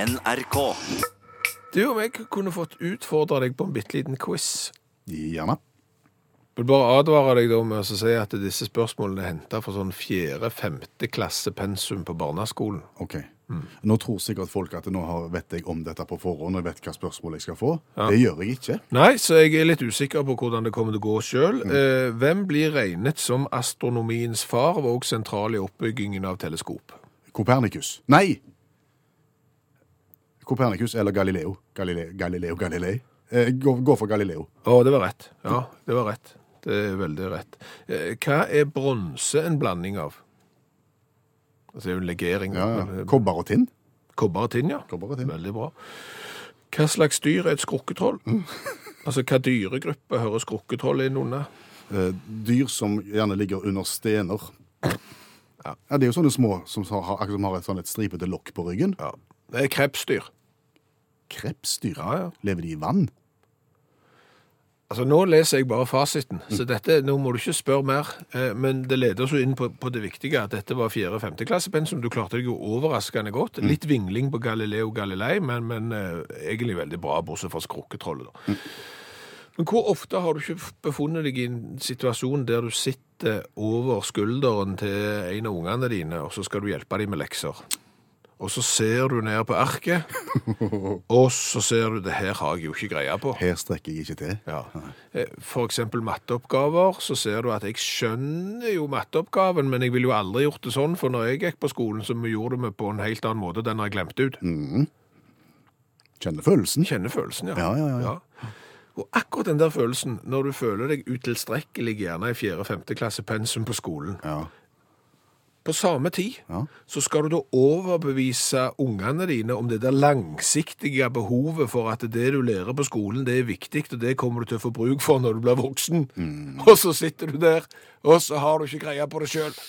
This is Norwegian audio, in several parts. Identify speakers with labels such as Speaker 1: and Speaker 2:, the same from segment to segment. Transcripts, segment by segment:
Speaker 1: NRK.
Speaker 2: Du og jeg kunne fått utfordre deg på en bitte liten quiz.
Speaker 3: Gjerne.
Speaker 2: Jeg vil bare advare deg da med å si at disse spørsmålene er henta fra sånn fjerde-femte klasse pensum på barneskolen.
Speaker 3: Ok.
Speaker 2: Mm.
Speaker 3: Nå tror sikkert folk at nå har, vet jeg om dette på forhånd, og jeg vet hva spørsmål jeg skal få. Det gjør jeg ikke.
Speaker 2: Nei, så jeg er litt usikker på hvordan det kommer til å gå sjøl.
Speaker 3: Mm.
Speaker 2: Eh, hvem blir regnet som astronomiens far, var også sentral i oppbyggingen av teleskop?
Speaker 3: Kopernikus. Nei! Kopernikus eller Galileo. Galileo, Galileo, Galilei. Eh, gå, gå for Galileo.
Speaker 2: Å, det var rett. Ja, det var rett. Det er veldig rett. Eh, hva er bronse en blanding av? Altså, det er jo en legering.
Speaker 3: Ja,
Speaker 2: men,
Speaker 3: ja.
Speaker 2: eh,
Speaker 3: Kobber og tinn.
Speaker 2: Kobber og tinn, ja.
Speaker 3: Kobber og tinn.
Speaker 2: Veldig bra. Hva slags dyr er et skrukketroll? altså, hva dyregruppe hører skrukketroll inn under?
Speaker 3: Eh, dyr som gjerne ligger under stener. Ja. Det er jo sånne små som har, akkurat som har et, sånn et stripete lokk på ryggen.
Speaker 2: Ja. Det er krepsdyr.
Speaker 3: Krepsdyr.
Speaker 2: Ja, ja.
Speaker 3: Lever de i vann?
Speaker 2: Altså, nå leser jeg bare fasiten, så dette, nå må du ikke spørre mer, eh, men det leder oss jo inn på, på det viktige, at dette var 4.-5. klassepensum, du klarte deg jo overraskende godt. Litt vingling på Galileo Galilei, men, men eh, egentlig veldig bra, bortsett fra skrukketrollet da. Men hvor ofte har du ikke befunnet deg i en situasjon der du sitter over skulderen til en av ungene dine, og så skal du hjelpe dem med lekser? Og så ser du ned på arket, og så ser du, det her har jeg jo ikke greia på.
Speaker 3: Her strekker jeg ikke til.
Speaker 2: Ja. Eh, For eksempel matteoppgaver, så ser du at jeg skjønner jo matteoppgaven, men jeg ville jo aldri gjort det sånn, for når jeg gikk på skolen, så vi gjorde vi på en helt annen måte, den har jeg glemt ut.
Speaker 3: Mm. Kjenner følelsen.
Speaker 2: Kjenner følelsen, ja.
Speaker 3: Ja, ja, ja, ja.
Speaker 2: Og akkurat den der følelsen, når du føler deg utilstrekkelig gjerne i 4.-5. klasse pensum på skolen,
Speaker 3: Ja.
Speaker 2: på samme tid,
Speaker 3: Ja.
Speaker 2: så skal du da overbevise ungene dine om det der langsiktige behovet for at det du lærer på skolen, det er viktig, og det kommer du til å få bruk for når du blir voksen.
Speaker 3: Mm.
Speaker 2: Og så sitter du der, og så har du ikke greia på det sjøl.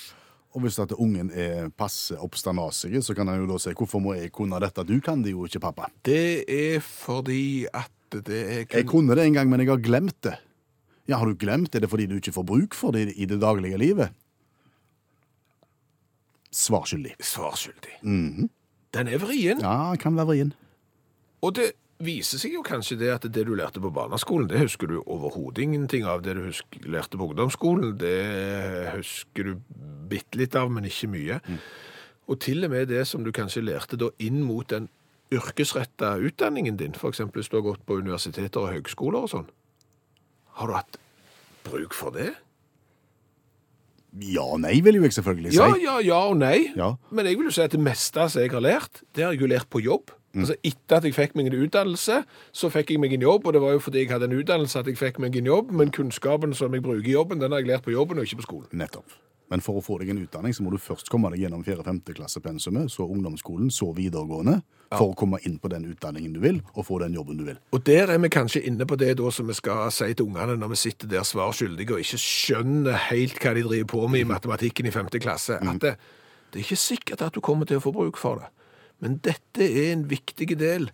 Speaker 3: Og hvis at ungen er passe oppstandasig, så kan han jo da si 'Hvorfor må jeg kunne dette? Du kan det jo ikke, pappa'.
Speaker 2: Det er fordi at det er kun...
Speaker 3: Jeg kunne det en gang, men jeg har glemt det. Ja, har du glemt det? Er det fordi du ikke får bruk for det i det daglige livet? Svar skyldig. Mhm.
Speaker 2: svarskyldig. Den er vrien.
Speaker 3: Ja, kan være vrien.
Speaker 2: Og det viser seg jo kanskje det at det du lærte på barneskolen, det husker du overhodet ingenting av. Det du husk- lærte på ungdomsskolen, det husker du bitte litt av, men ikke mye. Og til og med det som du kanskje lærte da inn mot den yrkesretta utdanningen din, f.eks. hvis du har gått på universiteter og høgskoler og sånn, har du hatt bruk for det?
Speaker 3: Ja og nei, vil jo jeg selvfølgelig si.
Speaker 2: Ja, ja, ja og nei.
Speaker 3: Ja.
Speaker 2: Men jeg vil jo si at det meste som jeg har lært, det har jeg jo lært på jobb. Altså Etter at jeg fikk meg en utdannelse, så fikk jeg meg en jobb. Og det var jo fordi jeg hadde en utdannelse at jeg fikk meg en jobb, men kunnskapen som jeg bruker i jobben, den har jeg lært på jobben og ikke på skolen.
Speaker 3: Nettopp. Men for å få deg en utdanning, så må du først komme deg gjennom 4.-5. klassepensumet, så ungdomsskolen, så videregående, for å komme inn på den utdanningen du vil, og få den jobben du vil.
Speaker 2: Og der er vi kanskje inne på det da som vi skal si til ungene når vi sitter der svar skyldige og ikke skjønner helt hva de driver på
Speaker 3: Mm.
Speaker 2: med i matematikken i femte klasse. At det, det er ikke sikkert at du kommer til å få bruk for det. Men dette er en viktig del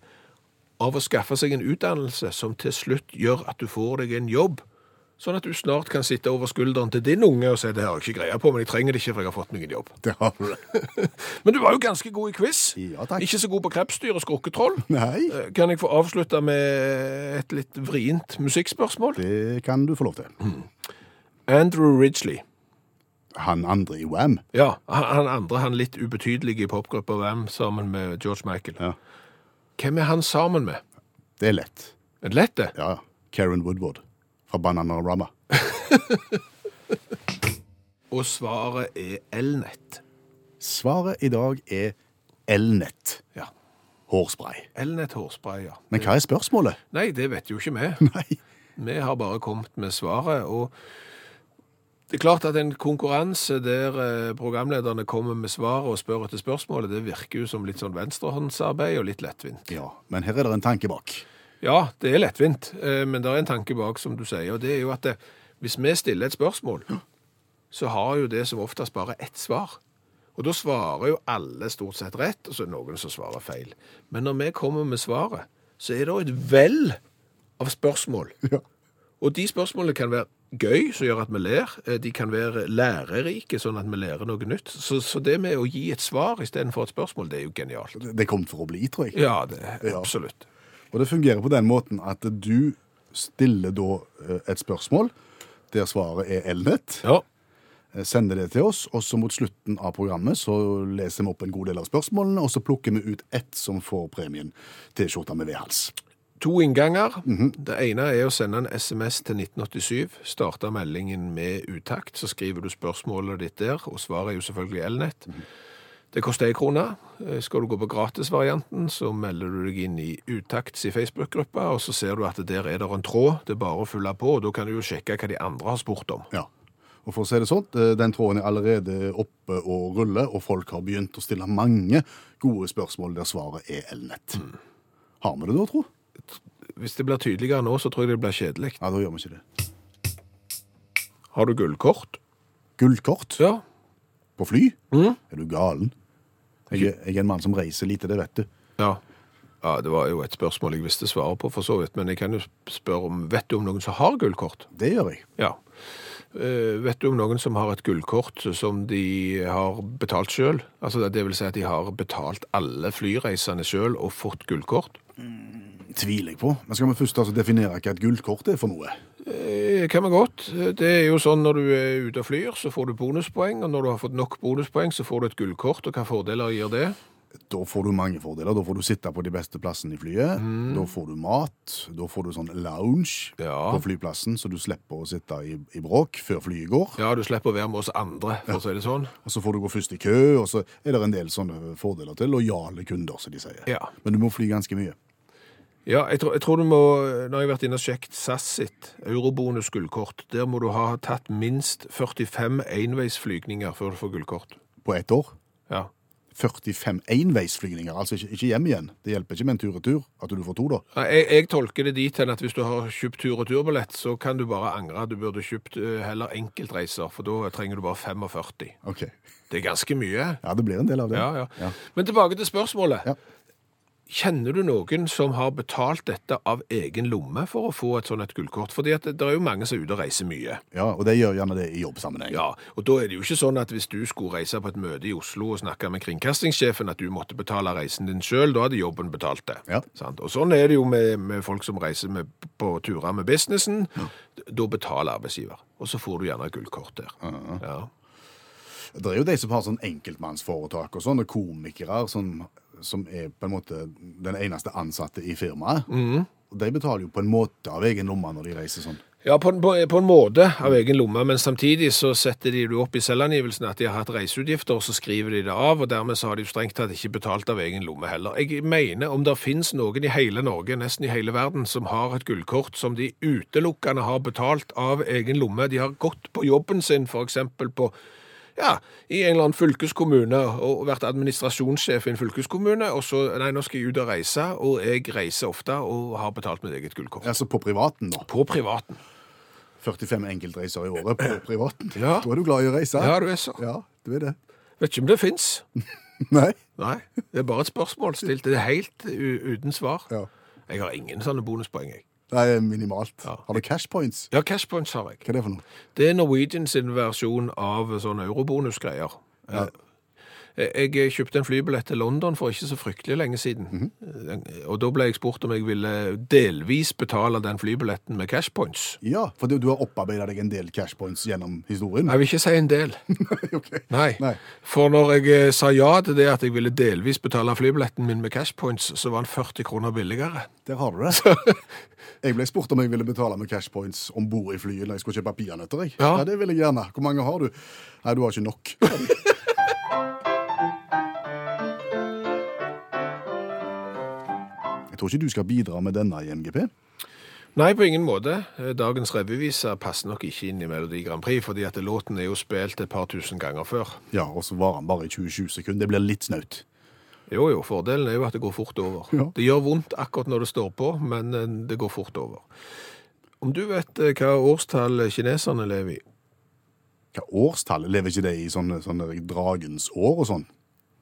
Speaker 2: av å skaffe seg en utdannelse som til slutt gjør at du får deg en jobb. Sånn at du snart kan sitte over skulderen til din unge og si det har jeg ikke greie på, men jeg trenger det ikke, for jeg har fått meg en jobb.
Speaker 3: Det har du det.
Speaker 2: Men du var jo ganske god i quiz.
Speaker 3: Ja, takk.
Speaker 2: Ikke så god på krepsdyr og skrukketroll.
Speaker 3: Nei,
Speaker 2: Eh, Kan jeg få avslutte med et litt vrient musikkspørsmål?
Speaker 3: det kan du få lov til.
Speaker 2: Andrew Ridgely.
Speaker 3: Han andre i Wham.
Speaker 2: Ja, han han andre, han litt ubetydelige i popgruppa Wham sammen med George Michael.
Speaker 3: Ja.
Speaker 2: Hvem er han sammen med?
Speaker 3: Det er lett.
Speaker 2: Er det Lett det?
Speaker 3: Ja, Karen Woodward fra Bananarama.
Speaker 2: Og svaret er Elnett.
Speaker 3: Svaret i dag er elnett
Speaker 2: Ja.
Speaker 3: hårspray.
Speaker 2: Elnett hårspray, ja.
Speaker 3: Men hva er spørsmålet?
Speaker 2: Nei, det vet jo ikke vi.
Speaker 3: Nei.
Speaker 2: Vi har bare kommet med svaret, og det er klart at en konkurranse der eh, programlederne kommer med svaret og spør etter spørsmålet, det virker jo som litt sånn venstrehåndsarbeid og litt lettvint.
Speaker 3: Ja, men her er det en tanke bak.
Speaker 2: Ja, det er lettvint, eh, men det er en tanke bak, som du sier, og det er jo at det, hvis vi stiller et spørsmål, så har jo det som oftest bare ett svar. Og da svarer jo alle stort sett rett, og så er det noen som svarer feil. Men når vi kommer med svaret, så er det jo et vell av spørsmål. Og de spørsmålene kan være gøy, som gjør at vi ler. Eh, De kan være lærerike, sånn at vi lærer noe nytt. Så, så det med å gi et svar istedenfor et spørsmål, det er jo genialt.
Speaker 3: Det det kom for å bli, tror jeg.
Speaker 2: Ja, det,
Speaker 3: Ja.
Speaker 2: absolutt.
Speaker 3: Og det fungerer på den måten at du stiller da eh, et spørsmål der svaret er elnett,
Speaker 2: Ja.
Speaker 3: eh, sender det til oss, og så mot slutten av programmet så leser vi opp en god del av spørsmålene, og så plukker vi ut ett som får premien til skjorta med V-hals.
Speaker 2: To innganger. Det ene er å sende en SMS til 1987. Starte meldingen med utakt, så skriver du spørsmålet ditt der, og svaret er jo selvfølgelig Elnett. Det koster ei krone. Eh, Skal du gå på gratisvarianten, så melder du deg inn i Utakts i Facebook-gruppa, og så ser du at der er det en tråd. Det er bare å fylle på, og da kan du jo sjekke hva de andre har spurt om.
Speaker 3: Ja. Og for å si det sånn, eh, den tråden er allerede oppe og ruller, og folk har begynt å stille mange gode spørsmål der svaret er elnett. Har vi det da, tro?
Speaker 2: Hvis det blir tydeligere nå, så tror jeg det blir kjedelig.
Speaker 3: Ja, da gjør vi ikke det.
Speaker 2: Har du gullkort?
Speaker 3: Gullkort
Speaker 2: Ja.
Speaker 3: på fly? Er du galen? Jeg, er- jeg er en mann som reiser lite, det vet du.
Speaker 2: Ja. ja. Det var jo et spørsmål jeg visste svaret på, for så vidt. Men jeg kan jo spørre om Vet du om noen som har gullkort?
Speaker 3: Det gjør jeg.
Speaker 2: Ja. Eh, vet du om noen som har et gullkort som de har betalt sjøl? Altså, det- det vil si at de har betalt alle flyreisene sjøl og fått gullkort?
Speaker 3: Tviler jeg på. Men skal vi først altså definere hva et gullkort er for noe?
Speaker 2: Eh, kan vi godt. Eh, Det er jo sånn når du er ute og flyr, så får du bonuspoeng. Og når du har fått nok bonuspoeng, så får du et gullkort. Og hva fordeler gir det?
Speaker 3: Da får du mange fordeler. Da får du sitte på de beste plassene i flyet. Da får du mat. Da får du sånn lounge
Speaker 2: Ja.
Speaker 3: på flyplassen, så du slipper å sitte i, i bråk før flyet går.
Speaker 2: Ja, du slipper å være med oss andre, for å si det sånn.
Speaker 3: Og så får du gå først i kø, og så er det en del sånne fordeler til lojale kunder, som de sier.
Speaker 2: Ja.
Speaker 3: Men du må fly ganske mye.
Speaker 2: Ja, jeg tror, jeg tror du må, når jeg har vært inne og sjekt SAS sitt eurobonus gullkort, der må du ha tatt minst 45 enveisflygninger før du får gullkort.
Speaker 3: På ett år.
Speaker 2: Ja.
Speaker 3: 45 enveisflygninger, altså ikke, ikke hjem igjen. Det hjelper ikke med en tur-retur at du får to, da.
Speaker 2: Nei, Jeg, jeg tolker det dit hen at hvis du har kjøpt tur- og turbillett, så kan du bare angre. Du burde kjøpt eh, heller enkeltreiser, for da trenger du bare 45.
Speaker 3: Ok.
Speaker 2: Det er ganske mye.
Speaker 3: Ja, det blir en del av det.
Speaker 2: Ja, ja. Men tilbake til spørsmålet.
Speaker 3: Ja.
Speaker 2: Kjenner du noen som har betalt dette av egen lomme for å få et sånt et gullkort? Fordi at det, det er jo mange som er ute og reiser mye.
Speaker 3: Ja, og det gjør gjerne det i jobbsammenheng.
Speaker 2: Ja, og da er det jo ikke sånn at hvis du skulle reise på et møte i Oslo og snakke med kringkastingssjefen, at du måtte betale reisen din sjøl, da hadde jobben betalt det.
Speaker 3: Ja.
Speaker 2: Sant? Og sånn er det jo med, med folk som reiser med, på turer med businessen. Da betaler arbeidsgiver, og så får du gjerne gullkort der. ja.
Speaker 3: Det er jo de som har sånn enkeltmannsforetak og sånn, og komikere som, som er på en måte den eneste ansatte i firmaet.
Speaker 2: Mm.
Speaker 3: Og de betaler jo på en måte av egen lomme når de reiser sånn.
Speaker 2: Ja, på, en- på, på en måte av egen lomme, men samtidig så setter de det opp i selvangivelsen at de har hatt reiseutgifter, og så skriver de det av, og dermed så har de jo strengt tatt ikke betalt av egen lomme heller. Jeg mener om det finnes noen i hele Norge, nesten i hele verden, som har et gullkort som de utelukkende har betalt av egen lomme. De har gått på jobben sin, for eksempel på ja, i en eller annen fylkeskommune og vært administrasjonssjef i en fylkeskommune, og så, nei, nå skal jeg ut og reise, og jeg reiser ofte og har betalt mitt eget gullkort.
Speaker 3: Altså på privaten, da.
Speaker 2: På privaten.
Speaker 3: 45 enkeltreiser i året på privaten.
Speaker 2: Ja.
Speaker 3: Da er du glad i å reise.
Speaker 2: Ja, du er så.
Speaker 3: Ja, du er det.
Speaker 2: Vet ikke om det fins.
Speaker 3: Nei?
Speaker 2: Nei, det er bare et spørsmål stilt. Det er helt u uten svar.
Speaker 3: Ja.
Speaker 2: Jeg har ingen sånne bonuspoeng, jeg.
Speaker 3: Det er minimalt.
Speaker 2: Ja.
Speaker 3: Har du cash points?
Speaker 2: Ja, cashpoints har jeg.
Speaker 3: Hva er det for noe?
Speaker 2: Det er Norwegian sin versjon av sånne eurobonusgreier.
Speaker 3: Ja.
Speaker 2: Eh, Jeg kjøpte en flybillett til London for ikke så fryktelig lenge siden.
Speaker 3: Mhm.
Speaker 2: Eh, Og da ble jeg spurt om jeg ville delvis betale den flybilletten med cashpoints.
Speaker 3: Ja, for du, du har opparbeidet deg en del cash points gjennom historien.
Speaker 2: Jeg vil ikke si en del.
Speaker 3: Ok.
Speaker 2: Nei.
Speaker 3: Nei.
Speaker 2: For når jeg eh, sa ja til det at jeg ville delvis betale flybilletten min med cashpoints, så var den 40 kroner billigere.
Speaker 3: Der har du det. Jeg ble spurt om jeg ville betale med cash points om bord i flyet når jeg skulle kjøpe peanøtter. jeg.
Speaker 2: Ja.
Speaker 3: ja, det vil jeg gjerne. Hvor mange har du? Nei, du har ikke nok. Jeg tror ikke du skal bidra med denne i MGP.
Speaker 2: Nei, på ingen måte. Eh, Dagens revyviser passer nok ikke inn i Melodi Grand Prix, fordi at låten er jo spilt et par tusen ganger før.
Speaker 3: Ja, Og så varer den bare i 20-20 sekunder. Det blir litt snaut.
Speaker 2: Jo, jo, fordelen er jo at det går fort over.
Speaker 3: Ja.
Speaker 2: Det gjør vondt akkurat når det står på, men eh, det går fort over. Om du vet eh, hva årstall kineserne lever i?
Speaker 3: Hva årstall? Lever ikke det i sånne, sånne dragens år og sånn?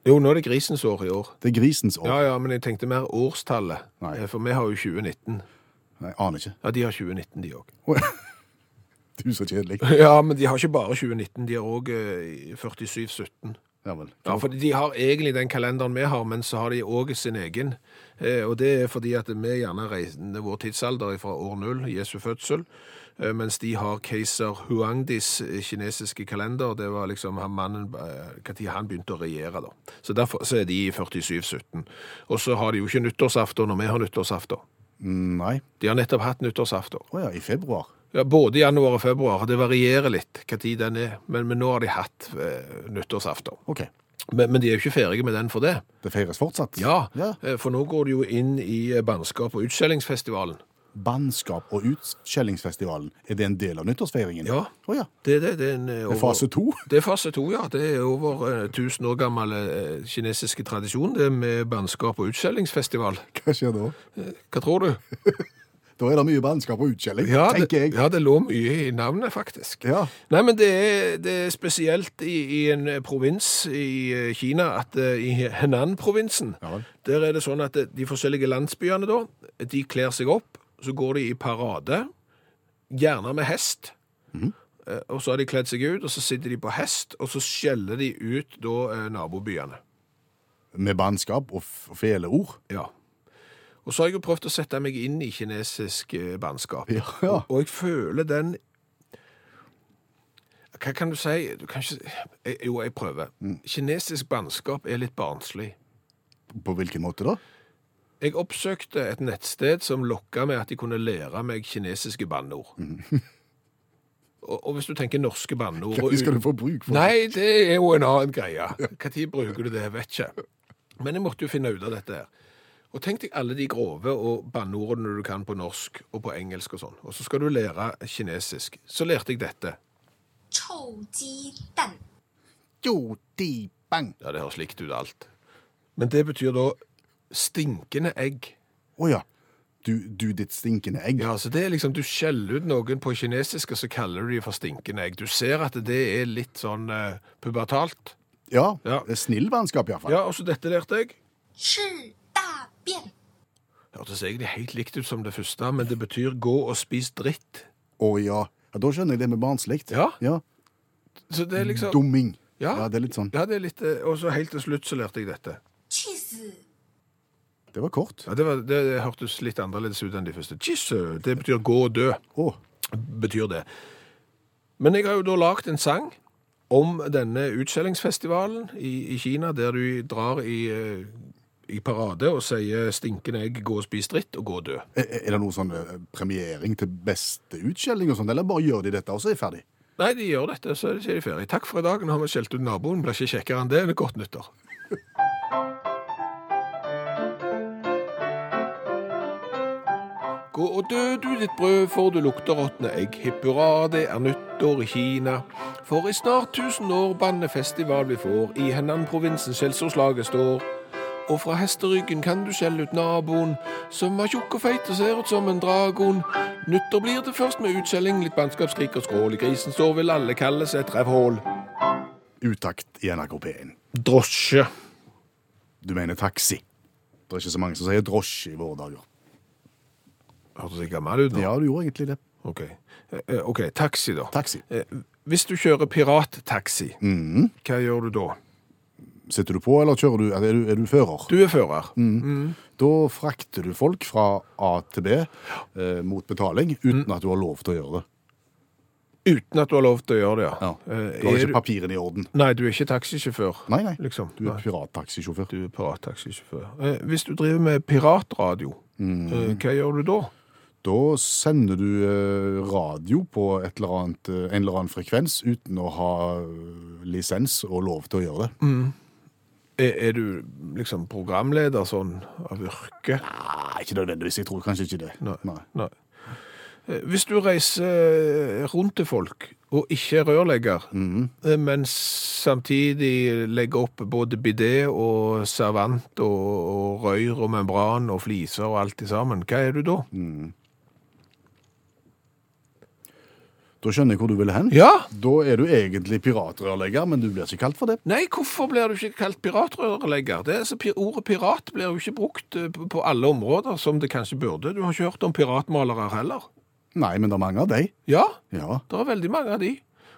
Speaker 2: Jo, nå er det grisens år i år.
Speaker 3: Det er grisens år.
Speaker 2: Ja, ja, men jeg tenkte mer årstallet,
Speaker 3: Nei.
Speaker 2: Eh, for vi har jo 2019.
Speaker 3: Nei, aner ikke.
Speaker 2: Ja, de har 2019 de også.
Speaker 3: Å, Du, så kjedelig.
Speaker 2: Ja, men de har ikke bare 2019, de har eh, òg 47-17.
Speaker 3: Ja vel.
Speaker 2: Ja, for de har egentlig den kalenderen vi har, men så har de òg sin egen. Eh, og det er fordi at vi gjerne reiser vår tidsalder fra år null, Jesu fødsel, eh, mens de har keiser Huangdis eh, kinesiske kalender. Det var liksom han mannen Når han begynte å regjere, da. Så derfor så er de i 47-17. Og så har de jo ikke nyttårsaften når vi har nyttårsaften.
Speaker 3: Mm, Nei.
Speaker 2: De har nettopp hatt nyttårsaften.
Speaker 3: Å ja, i februar.
Speaker 2: Ja, både januar og februar. Det varierer litt hva tid den er, men, men nå har de hatt eh, nyttårsaften.
Speaker 3: OK.
Speaker 2: Men, men de er jo ikke ferdige med den for det.
Speaker 3: Det feires fortsatt?
Speaker 2: Ja,
Speaker 3: Ja.
Speaker 2: eh, for nå går det jo inn i eh, Bannskap- og utskjellingsfestivalen.
Speaker 3: Bannskap og utskjellingsfestivalen, er det en del av nyttårsfeiringen?
Speaker 2: Ja.
Speaker 3: Å ja.
Speaker 2: Det, det, det er en, eh,
Speaker 3: Det
Speaker 2: over,
Speaker 3: er fase to?
Speaker 2: Det er fase to, ja. Det er over eh, 1000 år gammel eh, kinesiske tradisjon, det med Bannskap- og utskjellingsfestival.
Speaker 3: Hva skjer da?
Speaker 2: Hva tror du?
Speaker 3: Da er det mye bannskap og utskjelling, tenker
Speaker 2: det,
Speaker 3: jeg.
Speaker 2: ja, det lå mye i navnet, faktisk.
Speaker 3: Ja.
Speaker 2: Nei, men det er, det er spesielt i, i en eh, provins i eh, Kina, at eh, i Henan-provinsen,
Speaker 3: Ja vel.
Speaker 2: der er det sånn at eh, de forskjellige landsbyene da, de kler seg opp, så går de i parade, gjerne med hest,
Speaker 3: Mhm.
Speaker 2: Eh, og så har de kledd seg ut, og så sitter de på hest, og så skjeller de ut da eh, nabobyene.
Speaker 3: Med bannskap og f- og fele ord.
Speaker 2: Ja. Og så har jeg jo prøvd å sette meg inn i kinesisk eh, bannskap.
Speaker 3: Ja, ja.
Speaker 2: Og, og jeg føler den Hva kan du si? Du kan ikke... jeg- Jo, jeg prøver.
Speaker 3: Mm.
Speaker 2: Kinesisk bannskap er litt barnslig.
Speaker 3: På hvilken måte da?
Speaker 2: Jeg oppsøkte et nettsted som lokka med at de kunne lære meg kinesiske banneord.
Speaker 3: Mm.
Speaker 2: Og, og hvis du tenker norske banneord og
Speaker 3: Når skal du få bruk for
Speaker 2: Nei, det er jo en annen greie. Når bruker du det, vet ikke. Men jeg måtte jo finne ut av dette her. Og tenk deg alle de grove og banneordene du kan på norsk og på engelsk og sånn. Og så skal du lære kinesisk. Så lærte jeg dette.
Speaker 1: 臭鸡蛋。
Speaker 3: Jo, di, bang.
Speaker 2: Ja, det høres likt ut alt. Men det betyr da stinkende egg.
Speaker 3: Å ja. Du, du ditt stinkende egg.
Speaker 2: Ja, så det er liksom, Du skjeller ut noen på kinesisk, og så kaller du de for stinkende egg. Du ser at det er litt sånn eh, pubertalt.
Speaker 3: Ja.
Speaker 2: Ja.
Speaker 3: Snill vennskap, iallfall.
Speaker 2: Ja, og så dette lærte jeg.
Speaker 1: 吃大便，
Speaker 2: Hørtes egentlig helt likt ut som det første, men det betyr gå og spis dritt.
Speaker 3: Å ja. ja. Da skjønner jeg det med barnslikt.
Speaker 2: Ja.
Speaker 3: ja.
Speaker 2: Så det er liksom...
Speaker 3: Dumming.
Speaker 2: Ja.
Speaker 3: det er litt sånn.
Speaker 2: Ja, det er litt... eh, Og så helt til slutt så lærte jeg dette.
Speaker 1: 去死！
Speaker 3: Det var kort.
Speaker 2: Ja, det, var, det, det hørtes litt annerledes ut enn de første. Jisø, det betyr gå og dø,
Speaker 3: Å.
Speaker 2: betyr det. Men jeg har jo da lagt en sang om denne utskjellingsfestivalen i, i Kina, der du drar i, eh, i parade og sier stinkende egg, gå og spis dritt og gå og dø.
Speaker 3: Er, er det noe sånn eh, premiering til beste utskjelling og sånt, eller bare gjør de dette, og så er jeg ferdig?
Speaker 2: Nei, de gjør dette, så sier de ferie. Takk for i dag, nå har vi skjelt ut naboen, blir ikke kjekkere enn det, men godt nyttår. Gå og dø, du ditt brød, for du lukter råtne egg. Hipp hurra, det er nyttår i Kina. For i snart tusen år bannefestival vi får, i Henan-provinsen skjellsordslaget står. Og fra hesteryggen kan du skjelle ut naboen, som er tjukk og feit og ser ut som en dragon. Nyttår blir det først med utskjelling, litt bannskapskrik og skrål. I grisen står vil alle kalles et revhål.
Speaker 3: Utakt i NRK P1.
Speaker 2: Drosje.
Speaker 3: Du mener taxi. Det er ikke så mange som sier drosje i våre dager.
Speaker 2: Hørtes jeg gammel ut nå?
Speaker 3: Ja, du gjorde egentlig det.
Speaker 2: Ok. Eh, eh, Ok, taxi da.
Speaker 3: Taxi. Mhm.
Speaker 2: Eh, Hvis du kjører pirattaxi, hva gjør du da?
Speaker 3: Sitter du på, eller kjører du? Er du, er du fører?
Speaker 2: Du er fører.
Speaker 3: Da frakter du folk fra A til B eh, mot betaling, uten
Speaker 2: Mm.
Speaker 3: at du har lov til å gjøre det.
Speaker 2: Uten at du har lov til å gjøre det,
Speaker 3: Ja.
Speaker 2: Eh,
Speaker 3: Du har
Speaker 2: er
Speaker 3: ikke papirene i orden.
Speaker 2: Nei, du er ikke taxisjåfør.
Speaker 3: Nei, nei.
Speaker 2: Liksom.
Speaker 3: Du
Speaker 2: Nei.
Speaker 3: er pirattaxisjåfør.
Speaker 2: Du er pirattaxisjåfør. Eh, Hvis du driver med piratradio, eh, hva gjør du da?
Speaker 3: Da sender du eh, radio på et eller annet, eh, en eller annen frekvens uten å ha eh, lisens og lov til å gjøre
Speaker 2: Mm.
Speaker 3: det.
Speaker 2: Er, er du liksom programleder sånn av yrke?
Speaker 3: Nei, ikke nødvendigvis. Jeg tror kanskje ikke det.
Speaker 2: Nei. Nei. Eh, Hvis du reiser eh, rundt til folk og ikke er rørlegger, eh, men samtidig legger opp både bidé og servant og, og røyr og membran og fliser og alt i sammen, hva er du da?
Speaker 3: Da skjønner jeg hvor du vil hen.
Speaker 2: Ja!
Speaker 3: Da er du egentlig piratrørlegger, men du blir ikke kalt for det.
Speaker 2: Nei, hvorfor blir du ikke kalt piratrørlegger? Det er, altså, pi- ordet pirat blir jo ikke brukt eh, på på alle områder som det kanskje burde. Du har ikke hørt om piratmalere heller.
Speaker 3: Nei, men det er mange av de.
Speaker 2: Ja,
Speaker 3: Ja.
Speaker 2: det er veldig mange av de.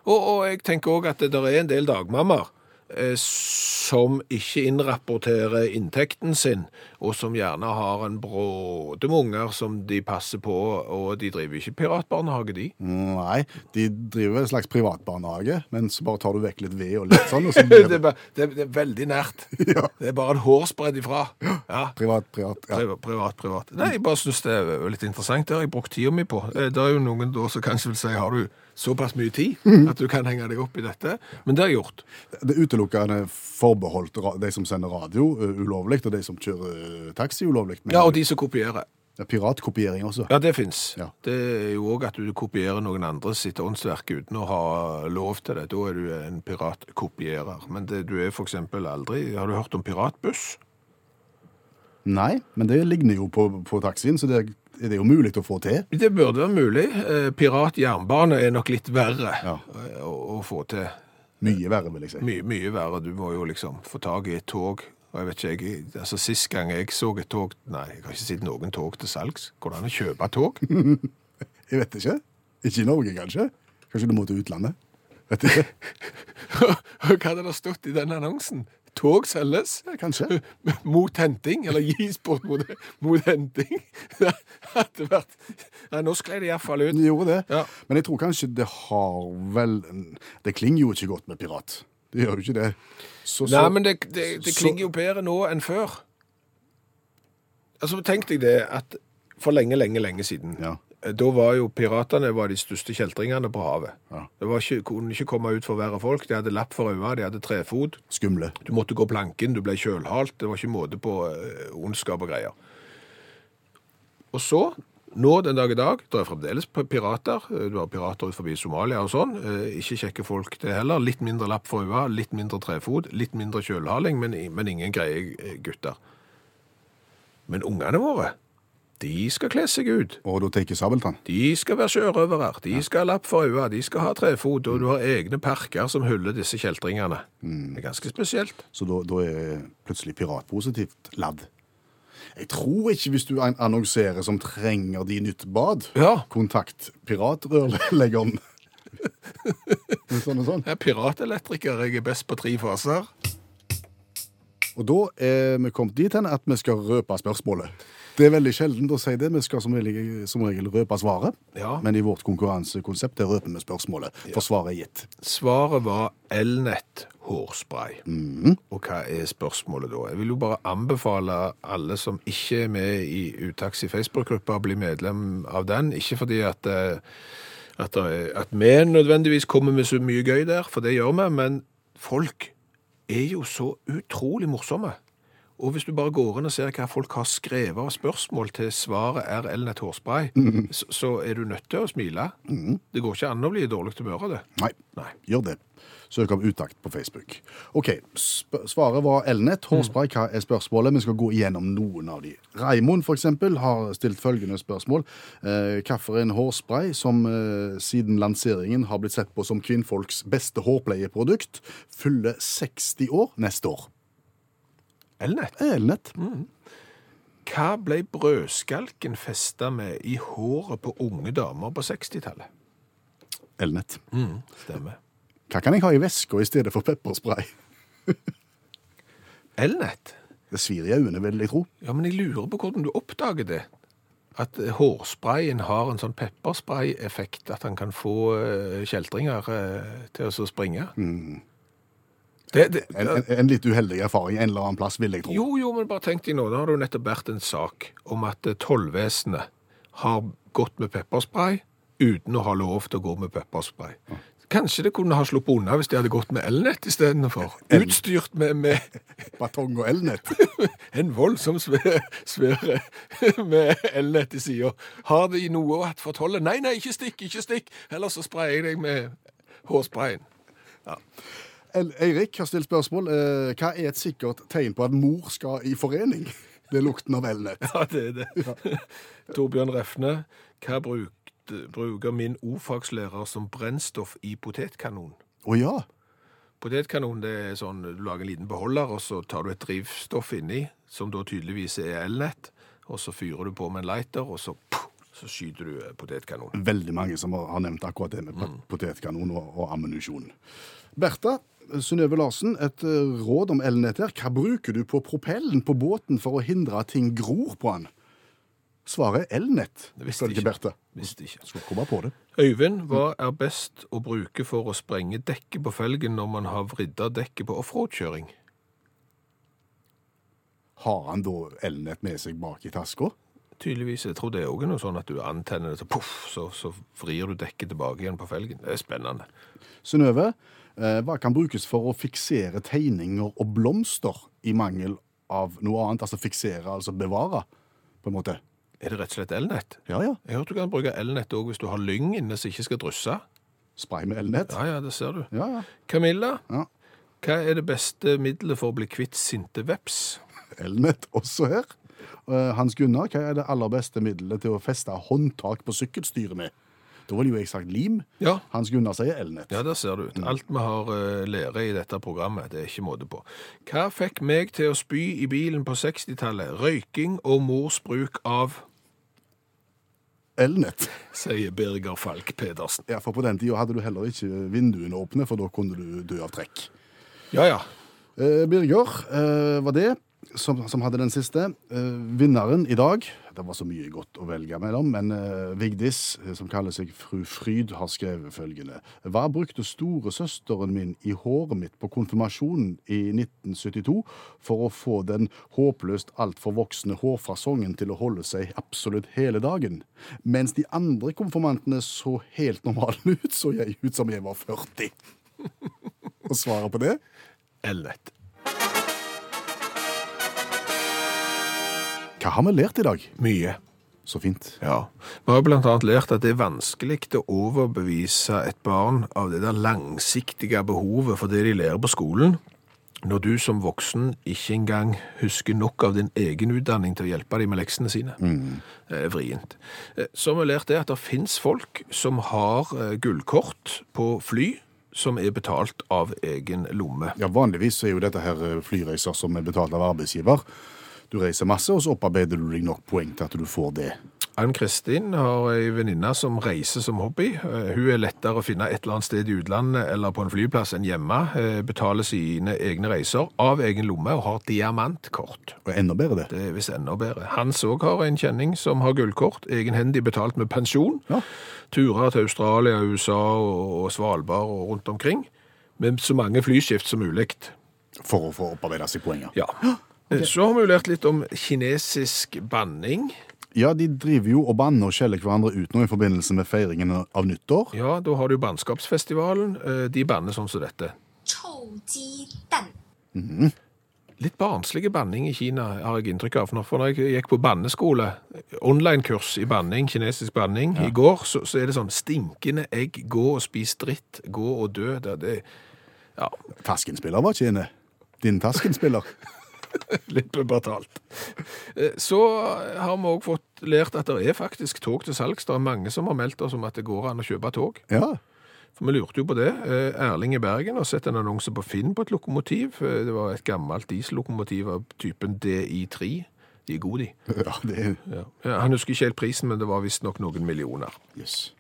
Speaker 2: Og, og jeg tenker òg at det der er en del dagmammaer eh, som ikke innrapporterer inntekten sin, og som gjerne har en bråde med unger som de passer på, og de driver ikke piratbarnehage, de.
Speaker 3: Nei, de driver en slags privatbarnehage, men så bare tar du vekk litt ved og litt sånn, og så
Speaker 2: det,
Speaker 3: blir
Speaker 2: er
Speaker 3: det
Speaker 2: bare, det, er- det er veldig nært.
Speaker 3: Ja.
Speaker 2: Det er bare en hårsbredd ifra. Ja.
Speaker 3: privat, privat. Ja.
Speaker 2: Privat, privat, privat. Nei, jeg bare synes det er litt interessant. Det har jeg brukt tida mi på. Eh, Det er jo noen da som kanskje vil si har du såpass mye tid
Speaker 3: Mhm.
Speaker 2: at du kan henge deg opp i dette? Men det har jeg gjort.
Speaker 3: Det er utelukkende forbeholdt ra- de som sender radio ø, ulovlig, og de som kjører ø, taxi ulovlig. Men
Speaker 2: Ja, og de som kopierer.
Speaker 3: det er Piratkopiering også.
Speaker 2: Ja, det fins.
Speaker 3: Ja.
Speaker 2: Det er jo òg at du kopierer noen andres sitt åndsverk uten å ha lov til det. Da er du en piratkopierer. Men det, du er f.eks. aldri Har du hørt om piratbuss?
Speaker 3: Nei, men det ligner jo på, på taxien, så det er, det er jo mulig å få til.
Speaker 2: Det burde være mulig. Eh, Piratjernbane er nok litt verre
Speaker 3: Ja.
Speaker 2: eh, å, å få til.
Speaker 3: Mye verre, vil jeg si.
Speaker 2: Mye, mye verre. Du må jo liksom få tak i et tog. Og jeg vet ikke, jeg, altså Sist gang jeg så et tog Nei, jeg har ikke sett noen tog til salgs. Går det an å kjøpe tog?
Speaker 3: Jeg vet ikke. Ikke i Norge, kanskje? Kanskje du må til utlandet? Vet ikke.
Speaker 2: Hva hadde det stått i den annonsen? Tog selges
Speaker 3: Ja, Kanskje.
Speaker 2: mot henting, eller gis bort mot, mot henting. Det hadde vært Nei, nå sklei det iallfall ut.
Speaker 3: De gjorde det.
Speaker 2: Ja.
Speaker 3: Men jeg tror kanskje det har vel Det klinger jo ikke godt med pirat. Det gjør jo ikke det. Så,
Speaker 2: Nei,
Speaker 3: så-
Speaker 2: men det, det, det
Speaker 3: så-
Speaker 2: klinger jo bedre nå enn før. Altså, tenk deg det at for lenge, lenge, lenge siden,
Speaker 3: Ja.
Speaker 2: eh, da var jo piratene var de største kjeltringene på havet.
Speaker 3: Ja.
Speaker 2: Det var ikke, kunne ikke komme ut for å være folk. De hadde lapp for øynene, de hadde trefot.
Speaker 3: Skumle.
Speaker 2: Du måtte gå planken, du ble kjølhalt. Det var ikke måte på eh, ondskap og greier. Og så, nå den dag i dag, det er fremdeles p- pirater. Eh, Du har pirater ut forbi Somalia og sånn. Eh, Ikke kjekke folk det heller. Litt mindre lapp for øya, litt mindre trefot, litt mindre kjølhaling, men, i- men ingen greie eh, gutter. Men ungene våre, de skal kle seg ut.
Speaker 3: Og da tenker Sabeltann.
Speaker 2: De skal være sjørøvere, de skal ha lapp for øya, de skal ha trefot, og du har egne parker som hyller disse kjeltringene. Det er ganske spesielt.
Speaker 3: Så da, da er plutselig pirat positivt ladd. Jeg tror ikke hvis du an- annonserer som trenger de nytt bad,
Speaker 2: Ja.
Speaker 3: kontakt piratrørleggeren. Men sånn og sånn.
Speaker 2: Jeg er piratelektriker. Jeg er best på tre faser.
Speaker 3: Og da er vi kommet dit hen at vi skal røpe spørsmålet. Det er veldig sjeldent å si det. Vi skal som regel, som regel røpe svaret.
Speaker 2: Ja.
Speaker 3: Men i vårt konkurransekonsept er røper vi spørsmålet, for svaret er gitt.
Speaker 2: Svaret var elnett hårspray. Og hva er spørsmålet da? Jeg vil jo bare anbefale alle som ikke er med i Utaxi Facebook-gruppa, å bli medlem av den. Ikke fordi at, eh, at, det er- at vi nødvendigvis kommer med så mye gøy der, for det gjør vi, men folk er jo så utrolig morsomme. Og hvis du bare går inn og ser hva folk har skrevet av spørsmål til svaret er elnett hårspray, så, så er du nødt til å smile. Det går ikke an å bli i dårlig humør av det.
Speaker 3: Nei.
Speaker 2: Nei.
Speaker 3: Gjør det. Søk om utakt på Facebook. Ok, sp Svaret var elnett.
Speaker 2: Mm.
Speaker 3: Hårspray, hva er spørsmålet? Vi skal gå igjennom noen av de. Raimond for eksempel, har stilt følgende spørsmål. Eh, Hvilken hårspray som eh, siden lanseringen har blitt sett på som kvinnfolks beste hårpleieprodukt, fyller 60 år neste år?
Speaker 2: Elnett.
Speaker 3: Elnett.
Speaker 2: Mm. Hva ble brødskalken festa med i håret på unge damer på 60-tallet?
Speaker 3: Elnett.
Speaker 2: Stemmer.
Speaker 3: Hva kan jeg ha i veska i stedet for pepperspray?
Speaker 2: Elnett?
Speaker 3: Det svir i øynene, vil jeg tro.
Speaker 2: Ja, men jeg lurer på hvordan du oppdager det. At eh, hårsprayen har en sånn pepperspray-effekt, at han kan få eh, kjeltringer eh, til å så springe. Det, det,
Speaker 3: Mm. En, en, en litt uheldig erfaring en eller annen plass, vil jeg tro.
Speaker 2: Jo, jo, men bare tenk deg nå, da har det jo nettopp vært en sak om at eh, tollvesenet har gått med pepperspray uten å ha lov til å gå med pepperspray. Kanskje det kunne ha sluppet unna hvis de hadde gått med elnett istedenfor. Utstyrt med, med
Speaker 3: Batong og elnett.
Speaker 2: en voldsom svære, svære med elnett i sida. Har de noe hatt for tollet? Nei, nei, ikke stikk, ikke stikk! Ellers så sprayer jeg deg med hårsprayen.
Speaker 3: El Eirik har stilt spørsmål. Eh, hva er et sikkert tegn på at mor skal i forening? Det er lukten av elnett.
Speaker 2: Ja, det er det. Torbjørn Refne, hva brukte, bruker min ofagslærer som brennstoff i potetkanon?
Speaker 3: Å ja.
Speaker 2: Potetkanon det er sånn, du lager en liten beholder, og så tar du et drivstoff inni, som da tydeligvis er elnett, og så fyrer du på med en lighter, og så, puh, så skyter du eh, potetkanon.
Speaker 3: Veldig mange som har har nevnt akkurat det med
Speaker 2: Mm.
Speaker 3: potetkanon og, og ammunisjon. Bertha Synnøve Larsen, et eh, råd om elnett her. Hva bruker du på propellen på båten for å hindre at ting gror på den? Svaret er elnett,
Speaker 2: Det visste
Speaker 3: ifølge
Speaker 2: jeg ikke.
Speaker 3: Bertha.
Speaker 2: Visste ikke.
Speaker 3: Skulle komme på det.
Speaker 2: Øyvind, hva er best å bruke for å sprenge dekket på felgen når man har vridd av dekket på offroadkjøring?
Speaker 3: Har han da elnett med seg bak i taska?
Speaker 2: Tydeligvis, jeg tror det er også noe sånn at du antenner det, så poff, så, så vrir du dekket tilbake igjen på felgen. Det er spennende.
Speaker 3: Synnøve, eh, hva kan brukes for å fiksere tegninger og blomster i mangel av noe annet? Altså fiksere, altså bevare, på en måte.
Speaker 2: Er det rett og slett elnett?
Speaker 3: Ja, ja.
Speaker 2: Jeg hørte du kan bruke elnett òg hvis du har lyng inne som ikke skal drysse.
Speaker 3: Spray med elnett.
Speaker 2: Ja, ja, det ser du.
Speaker 3: Ja, ja.
Speaker 2: Camilla,
Speaker 3: Ja.
Speaker 2: hva er det beste middelet for å bli kvitt sinte veps?
Speaker 3: Elnett også her. Eh, Hans Gunnar, hva er det aller beste middelet til å feste håndtak på sykkelstyret med? Da ville jo jeg sagt lim.
Speaker 2: Ja.
Speaker 3: Hans Gunnar sier elnett.
Speaker 2: Ja, der ser det ut. Alt vi har eh, lære i dette programmet, det er ikke måte på. Hva fikk meg til å spy i bilen på 60-tallet? Røyking og mors bruk av,
Speaker 3: Elnett.
Speaker 2: sier Birger Falk Pedersen.
Speaker 3: Ja, for på den tida hadde du heller ikke vinduene åpne, for da kunne du dø av trekk.
Speaker 2: Ja, ja.
Speaker 3: Eh, Birger eh, var det som, som hadde den siste. Eh, vinneren i dag Det var så mye godt å velge mellom, men eh, Vigdis, eh, som kaller seg fru Fryd, har skrevet følgende. Hva brukte storesøsteren min i håret mitt på konfirmasjonen i 1972 for å få den håpløst altfor voksne hårfasongen til å holde seg absolutt hele dagen? Mens de andre konfirmantene så helt normale ut, så jeg ut som jeg var 40. Og svaret på det?
Speaker 2: Elnett.
Speaker 3: Hva har vi lært i dag?
Speaker 2: Mye.
Speaker 3: Så fint.
Speaker 2: Ja. Vi har blant annet lært at det er vanskelig å overbevise et barn av det der langsiktige behovet for det de lærer på skolen, når du som voksen ikke engang husker nok av din egen utdanning til å hjelpe dem med leksene sine. Det er vrient. Eh, Så har vi lært det at det finnes folk som har eh, gullkort på fly som er betalt av egen lomme.
Speaker 3: Ja, Vanligvis er jo dette her eh, flyreiser som er betalt av arbeidsgiver. Du reiser masse, og så opparbeider du deg nok poeng til at du får det.
Speaker 2: Ann Kristin har ei venninne som reiser som hobby. Eh, Hun er lettere å finne et eller annet sted i utlandet eller på en flyplass enn hjemme. Eh, Betaler sine egne reiser av egen lomme og har diamantkort.
Speaker 3: Og enda bedre det.
Speaker 2: Det er visst enda bedre. Hans òg har en kjenning som har gullkort, egenhendig betalt med pensjon.
Speaker 3: Ja.
Speaker 2: Turer til Australia, USA og og Svalbard og rundt omkring. Med så mange flyskift som mulig.
Speaker 3: For å få opparbeida seg poeng. Ja.
Speaker 2: Ja. Eh, Så har vi jo lært litt om kinesisk banning.
Speaker 3: ja, de driver jo og banner og skjeller hverandre ut nå i forbindelse med feiringen av nyttår.
Speaker 2: Ja, da har du Bannskapsfestivalen. Eh, De banner sånn som dette.
Speaker 1: 臭鸡蛋，
Speaker 2: Litt barnslige banning i Kina, har jeg inntrykk av. For når jeg gikk på banneskole, online-kurs i banning, kinesisk banning, i går, så, så er det sånn stinkende egg, gå og spis dritt, gå og dø. Det, det ja,
Speaker 3: Taskenspiller var ikke inne. Din taskenspiller.
Speaker 2: litt pubertalt. Eh, Så har vi òg fått lært at det er faktisk tog til salgs. Det er mange som har meldt oss om at det går an å kjøpe tog.
Speaker 3: Ja.
Speaker 2: For vi lurte jo på det. Eh, Erling i Bergen har sett en annonse på Finn på et lokomotiv. Eh, Det var et gammelt diesellokomotiv av typen DI3. De er gode, de.
Speaker 3: ja det er
Speaker 2: Ja. Ja, Han husker ikke helt prisen, men det var visstnok noen millioner.
Speaker 3: Jøss.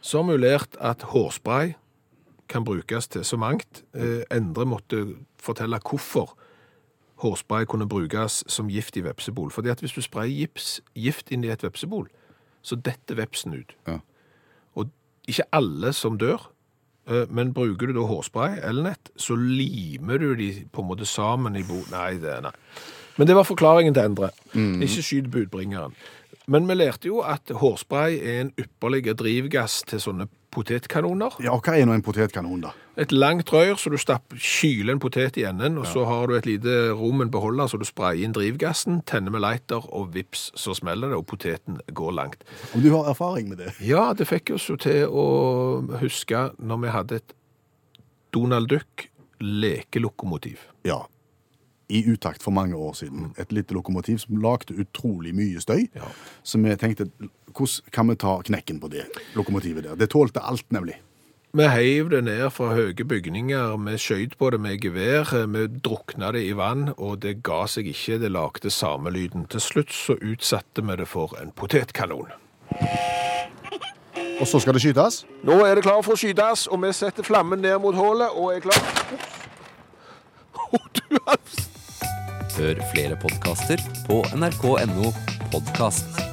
Speaker 2: Så har vi jo lært at hårspray kan brukes til så mangt. Eh, Endre måtte fortelle hvorfor hårspray kunne brukes som gift i vepsebol. Fordi at hvis du sprayer gips, gift inn i et vepsebol, så detter vepsen ut.
Speaker 3: Ja.
Speaker 2: Og ikke alle som dør, eh, men bruker du da hårspray eller nett, så limer du de på en måte sammen i bo... Nei, det nei. Men det var forklaringen til Endre. Ikke skyt budbringeren. Men vi lærte jo at hårspray er en ypperlig drivgass til sånne potetkanoner.
Speaker 3: Ja, og hva er nå en potetkanon, da?
Speaker 2: Et langt rør, så du stapp, kyler en potet i enden, og så har du et lite rom en beholder, så du sprayer inn drivgassen, tenner med lighter, og vips, så smeller det, og poteten går langt.
Speaker 3: Om du har erfaring med det?
Speaker 2: Ja, det fikk oss jo til å huske når vi hadde et Donald Duck lekelokomotiv.
Speaker 3: Ja. I utakt for mange år siden. Et lite lokomotiv som lagde utrolig mye støy.
Speaker 2: Ja.
Speaker 3: Så vi tenkte hvordan kan vi ta knekken på det lokomotivet der? Det tålte alt, nemlig.
Speaker 2: Vi heiv det ned fra høye bygninger, vi skjøt på det med gevær, vi drukna det i vann, og det ga seg ikke, det lagde samme lyden. Til slutt så utsatte vi det for en potetkanon.
Speaker 3: Og så skal det skytes?
Speaker 2: Nå er det klar for å skytes, og vi setter flammen ned mot hullet og er klar. Å, du har
Speaker 4: Hør flere podkaster på nrk.no podkast.